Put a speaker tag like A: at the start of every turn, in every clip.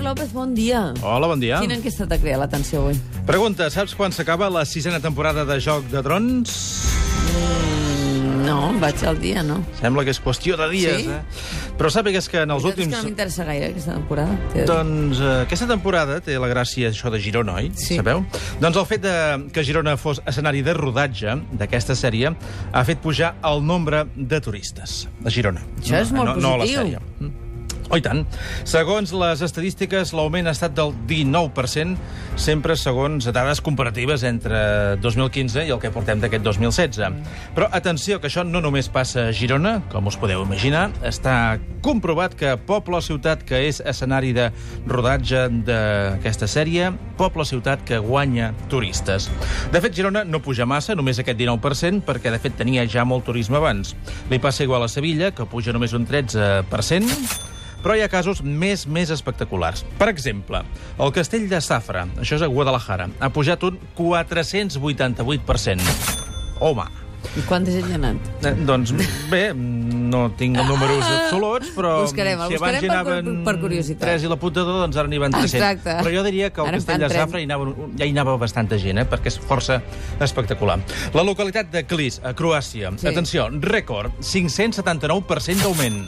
A: López, bon dia.
B: Hola, bon dia.
A: Quina enquesta t'ha creat l'atenció avui?
B: Pregunta, saps quan s'acaba la sisena temporada de Joc de Drons?
A: No, vaig al dia, no.
B: Sembla que és qüestió de dies,
A: Sí?
B: eh? Però sàpigues que en els
A: La veritat és que no
B: últims...
A: m'interessa gaire aquesta temporada. T'he de dir.
B: Doncs eh, aquesta temporada té la gràcia això de Girona, oi?
A: Sí.
B: Sabeu? Doncs el fet de, que Girona fos escenari de rodatge d'aquesta sèrie ha fet pujar el nombre de turistes a Girona.
A: Això és molt
B: no,
A: positiu.
B: no, No a la sèrie. Mm. Oh, i tant. Segons les estadístiques, l'augment ha estat del 19%, sempre segons dades comparatives entre 2015 i el que portem d'aquest 2016. Però atenció, que això no només passa a Girona, com us podeu imaginar. Està comprovat que poble o ciutat que és escenari de rodatge d'aquesta sèrie, poble o ciutat que guanya turistes. De fet, Girona no puja massa, només aquest 19%, perquè de fet tenia ja molt turisme abans. Li passa igual a Sevilla, que puja només un 13%, però hi ha casos més més espectaculars. Per exemple, el castell de Safra, això és a Guadalajara, ha pujat un 488%. Home,
A: I quanta gent hi ha anat?
B: eh, doncs bé, no tinc números absoluts, però...
A: Buscarem, el
B: si abans
A: buscarem
B: hi
A: per cur-
B: anaven
A: per curiositat.
B: 3 i la punta de 2, doncs ara n'hi van 300.
A: Exacte.
B: Però jo diria que el
A: Ara en
B: castell
A: fan
B: de
A: trenta.
B: Safra hi anava, ja hi anava bastanta gent, eh, perquè és força espectacular. La localitat de Clis, a Croàcia,
A: Sí.
B: sí. atenció, rècord, 579% d'augment.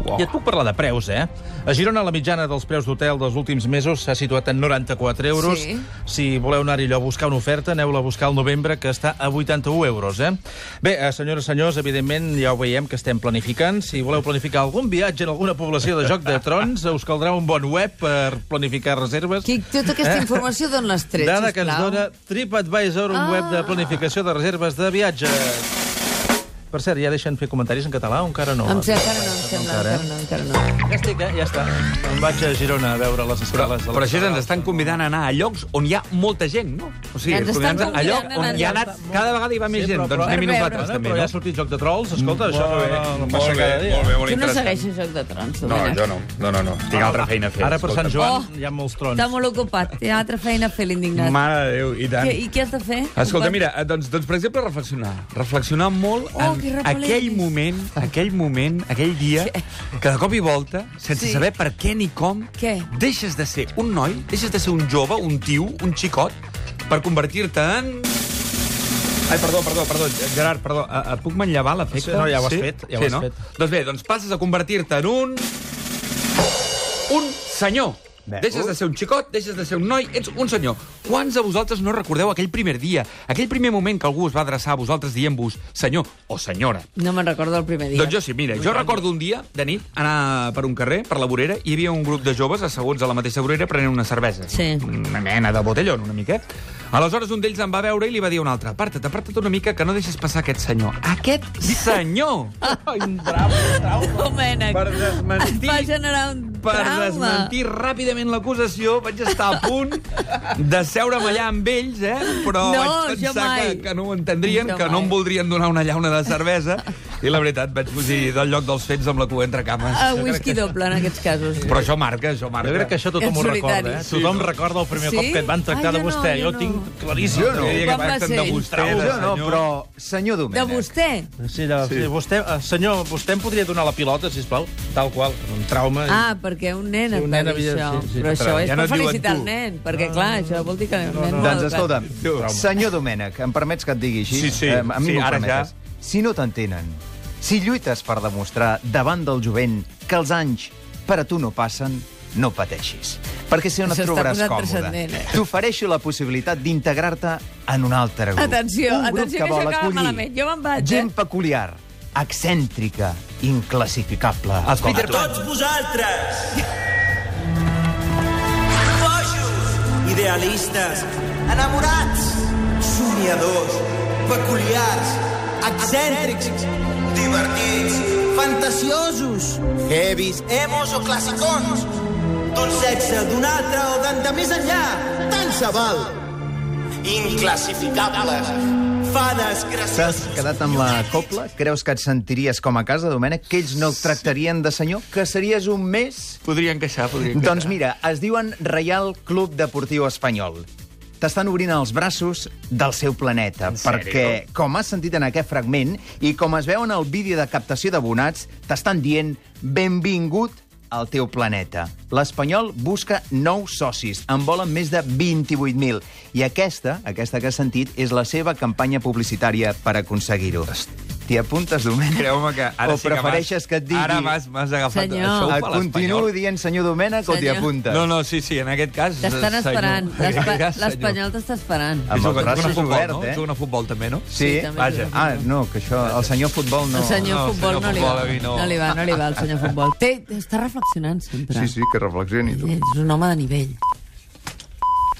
B: I et puc parlar de preus, eh? A Girona, la mitjana dels preus d'hotel dels últims mesos s'ha situat en 94 euros.
A: Sí.
B: Sí. Si voleu anar-hi allò a buscar una oferta, aneu-la a buscar al novembre, que està a 81 euros, eh? Bé, eh, senyores i senyors, evidentment, ja ho veiem que estem planificant. Si voleu planificar algun viatge en alguna població de Joc de Trons, us caldrà un bon web per planificar reserves.
A: Qui, tota aquesta informació d'on l'has tret,
B: Eh? Dada que ens
A: sisplau?
B: dona TripAdvisor, un
A: Ah.
B: web de planificació de reserves de viatges. Per cert, ja deixen fer comentaris en català o encara no?
A: Em sembla, encara no, em sembla,
B: Encara, eh?
A: encara no, encara no.
B: Ja estic, eh? Ja està. Em vaig a Girona a veure les escales. de la
C: Però així ens
B: catedral.
C: estan convidant a anar a llocs on hi ha molta gent, no? O sigui,
A: Ens estan
C: convidant-nos a
A: convidant
C: lloc
A: a anar
C: on hi ha anat... Cada vegada hi va més
B: Sí,
C: gent,
B: però-
C: doncs
B: però-
A: per
C: anem-hi
B: Bueno,
C: nosaltres,
A: veure,
C: també,
B: però ja ha
C: no?
B: sortit Joc de Trolls, escolta, això no, no, no passa
D: molt bé,
B: cada dia.
D: molt bé,
A: Tu no
D: molt interessant.
A: segueixes Joc de Trons,
D: No,
A: Domènec?
D: jo no, no, no, no.
B: Ah,
C: Tinc altra feina a fer.
B: Ara per Sant
C: escolta.
B: Joan
A: Oh.
B: hi ha molts
A: Està
B: trons.
A: molt ocupat. Té altra feina a fer l'indignat.
C: Mare de Déu, i tant.
A: Què- I què has de fer?
C: Escolta, mira, eh, doncs, doncs, per exemple, reflexionar. Reflexionar molt
A: Oh, que
C: en
A: repel·lent.
C: aquell moment, aquell moment, aquell dia, que de cop i volta, sense
A: Sí.
C: saber per què ni com,
A: Què?
C: deixes de ser un noi, deixes de ser un jove, un tiu, un xicot, per convertir-te en... Ai, perdó, perdó, perdó, Gerard, perdó. A, a, puc manllevar
B: Sí,
C: l'efecte?
B: no, ja ho has fet, ja ho
C: sí,
B: has
C: no?
B: fet.
C: Doncs bé, doncs passes a convertir-te en un... Un senyor.
B: Bé.
C: Deixes de ser un xicot, deixes de ser un noi, ets un senyor. Quants de vosaltres no recordeu aquell primer dia, aquell primer moment que algú us va adreçar a vosaltres dient-vos senyor o senyora?
A: No me'n recordo el primer dia.
C: Doncs jo sí, mira, jo recordo un dia, de nit, anar per un carrer, per la vorera, i hi havia un grup de joves asseguts a la mateixa vorera prenent una cervesa.
A: Sí.
C: Una mena de botellón, una mica. Aleshores, un d'ells em va veure i li va dir a un altre, aparta't, aparta't una mica, que no deixes passar aquest senyor. Aquest senyor!
A: Domènec,
C: Per
A: et
C: desmentir-
A: va generar un
C: Per
A: trauma.
C: desmentir ràpidament l'acusació, vaig estar a punt de seure'm allà amb ells, eh? però
A: No,
C: vaig
A: jo
C: pensar que,
A: mai.
C: que no ho entendrien,
A: Jo
C: que no
A: mai.
C: em voldrien donar una llauna de cervesa, i la veritat, vaig fugir del lloc dels fets amb la cua entre cames.
A: A whisky doble, en aquests casos.
C: Però això marca, això marca.
B: Jo crec que això tothom
A: En
B: ho
A: solitari.
B: recorda, eh?
A: Sí,
B: Tothom recorda el primer
A: Sí?
B: cop que et van tractar
A: Ah,
B: de
A: jo no,
B: vostè.
A: jo
B: Jo
A: no.
B: ho tinc claríssim.
C: Jo no diria
A: Quan
C: que
A: va
C: pacten
A: ser?
C: de vostè, de
E: Jo Eh, no,
C: senyor.
E: però senyor
A: De
E: Domènec.
A: vostè?
B: Sí, de, sí. vostè, eh, senyor, vostè em podria donar la pilota, sisplau? Tal qual, un trauma.
A: Ah, perquè un nen
B: Sí,
A: et
B: un
A: va
B: nen
A: dir
B: havia-
A: això.
B: sí, sí,
A: Però
B: però
A: això és
C: ja no
A: per
C: et diuen
A: felicitar el
C: tu.
A: nen, perquè, clar, això vol dir que el nen...
E: Doncs
A: no-
E: escolta'm,
C: Tu.
E: senyor Domènec, em permets que et digui així?
C: Sí, sí,
E: Eh, a mi
C: sí,
E: m'ho
C: ara
E: permetes. Si no t'entenen, si lluites per demostrar davant del jovent que els anys per a tu no passen, no pateixis. Perquè si no
A: Això
E: et
A: està
E: trobaràs
A: posant
E: còmode,
A: transcendent. eh?
E: t'ofereixo la possibilitat d'integrar-te en un altre grup.
A: Atenció,
E: un grup
A: atenció, que
E: que vol
A: això acaba
E: acollir
A: malament. Jo me'n vaig, eh?
E: Gent peculiar, excèntrica, inclassificable.
C: Els
E: com
C: Peter
E: tu.
F: Tots vosaltres! Bojos! Idealistes! Enamorats! Somiadors! Peculiars! Excèntrics! Divertits! Fantasiosos! Heavies, emos o classicons! D'un sexe, d'un altre o d'en de més enllà! Tant se val! Inclassificables!
E: T'has
F: Fades, graciosos!
E: quedat amb la copla? Creus que et sentiries com a casa, Domènec? Que ells no et tractarien de senyor? Que series un més?
C: Podrien queixar, podrien queixar.
E: Doncs mira, es diuen Reial Club Deportiu Espanyol. T'estan obrint els braços del seu planeta, perquè, com has sentit en aquest fragment i com es veu en el vídeo de captació d'abonats, t'estan dient benvingut al teu planeta. L'Espanyol busca nous socis, en volen més de 28.000. I aquesta, aquesta que has sentit, és la seva campanya publicitària per aconseguir-ho. T'hi apuntes, Domènec?
C: Creu-me que ara
E: o
C: sí que
E: prefereixes
C: vas-
E: que et digui...
C: Ara m'has m'has agafat...
A: Senyor.
C: això ho fa
E: Et
C: l'espanyol.
E: continuo dient senyor Domènec o t'hi
A: Senyor.
E: apuntes?
C: No, no, sí, sí, en aquest cas...
A: T'estan
C: senyor.
A: esperant.
C: En aquest
A: L'espa-
C: cas, senyor.
A: L'Espanyol t'està esperant.
E: Amb
C: I
E: els
C: juguen- juguen a
E: braços
C: futbol,
E: oberts,
C: no?
E: eh?
C: Juguen a futbol, també, no?
E: Sí?
A: també
C: vaja.
A: juga.
E: Ah, no, que això... El senyor futbol no...
A: El senyor
C: no, el
A: futbol
C: senyor
A: no, li
C: futbol
A: va.
C: a mi no.
A: No li va, no li va, el senyor futbol. Té, està reflexionant sempre.
E: Sí, sí, que reflexioni, tu.
A: Ets un home de nivell.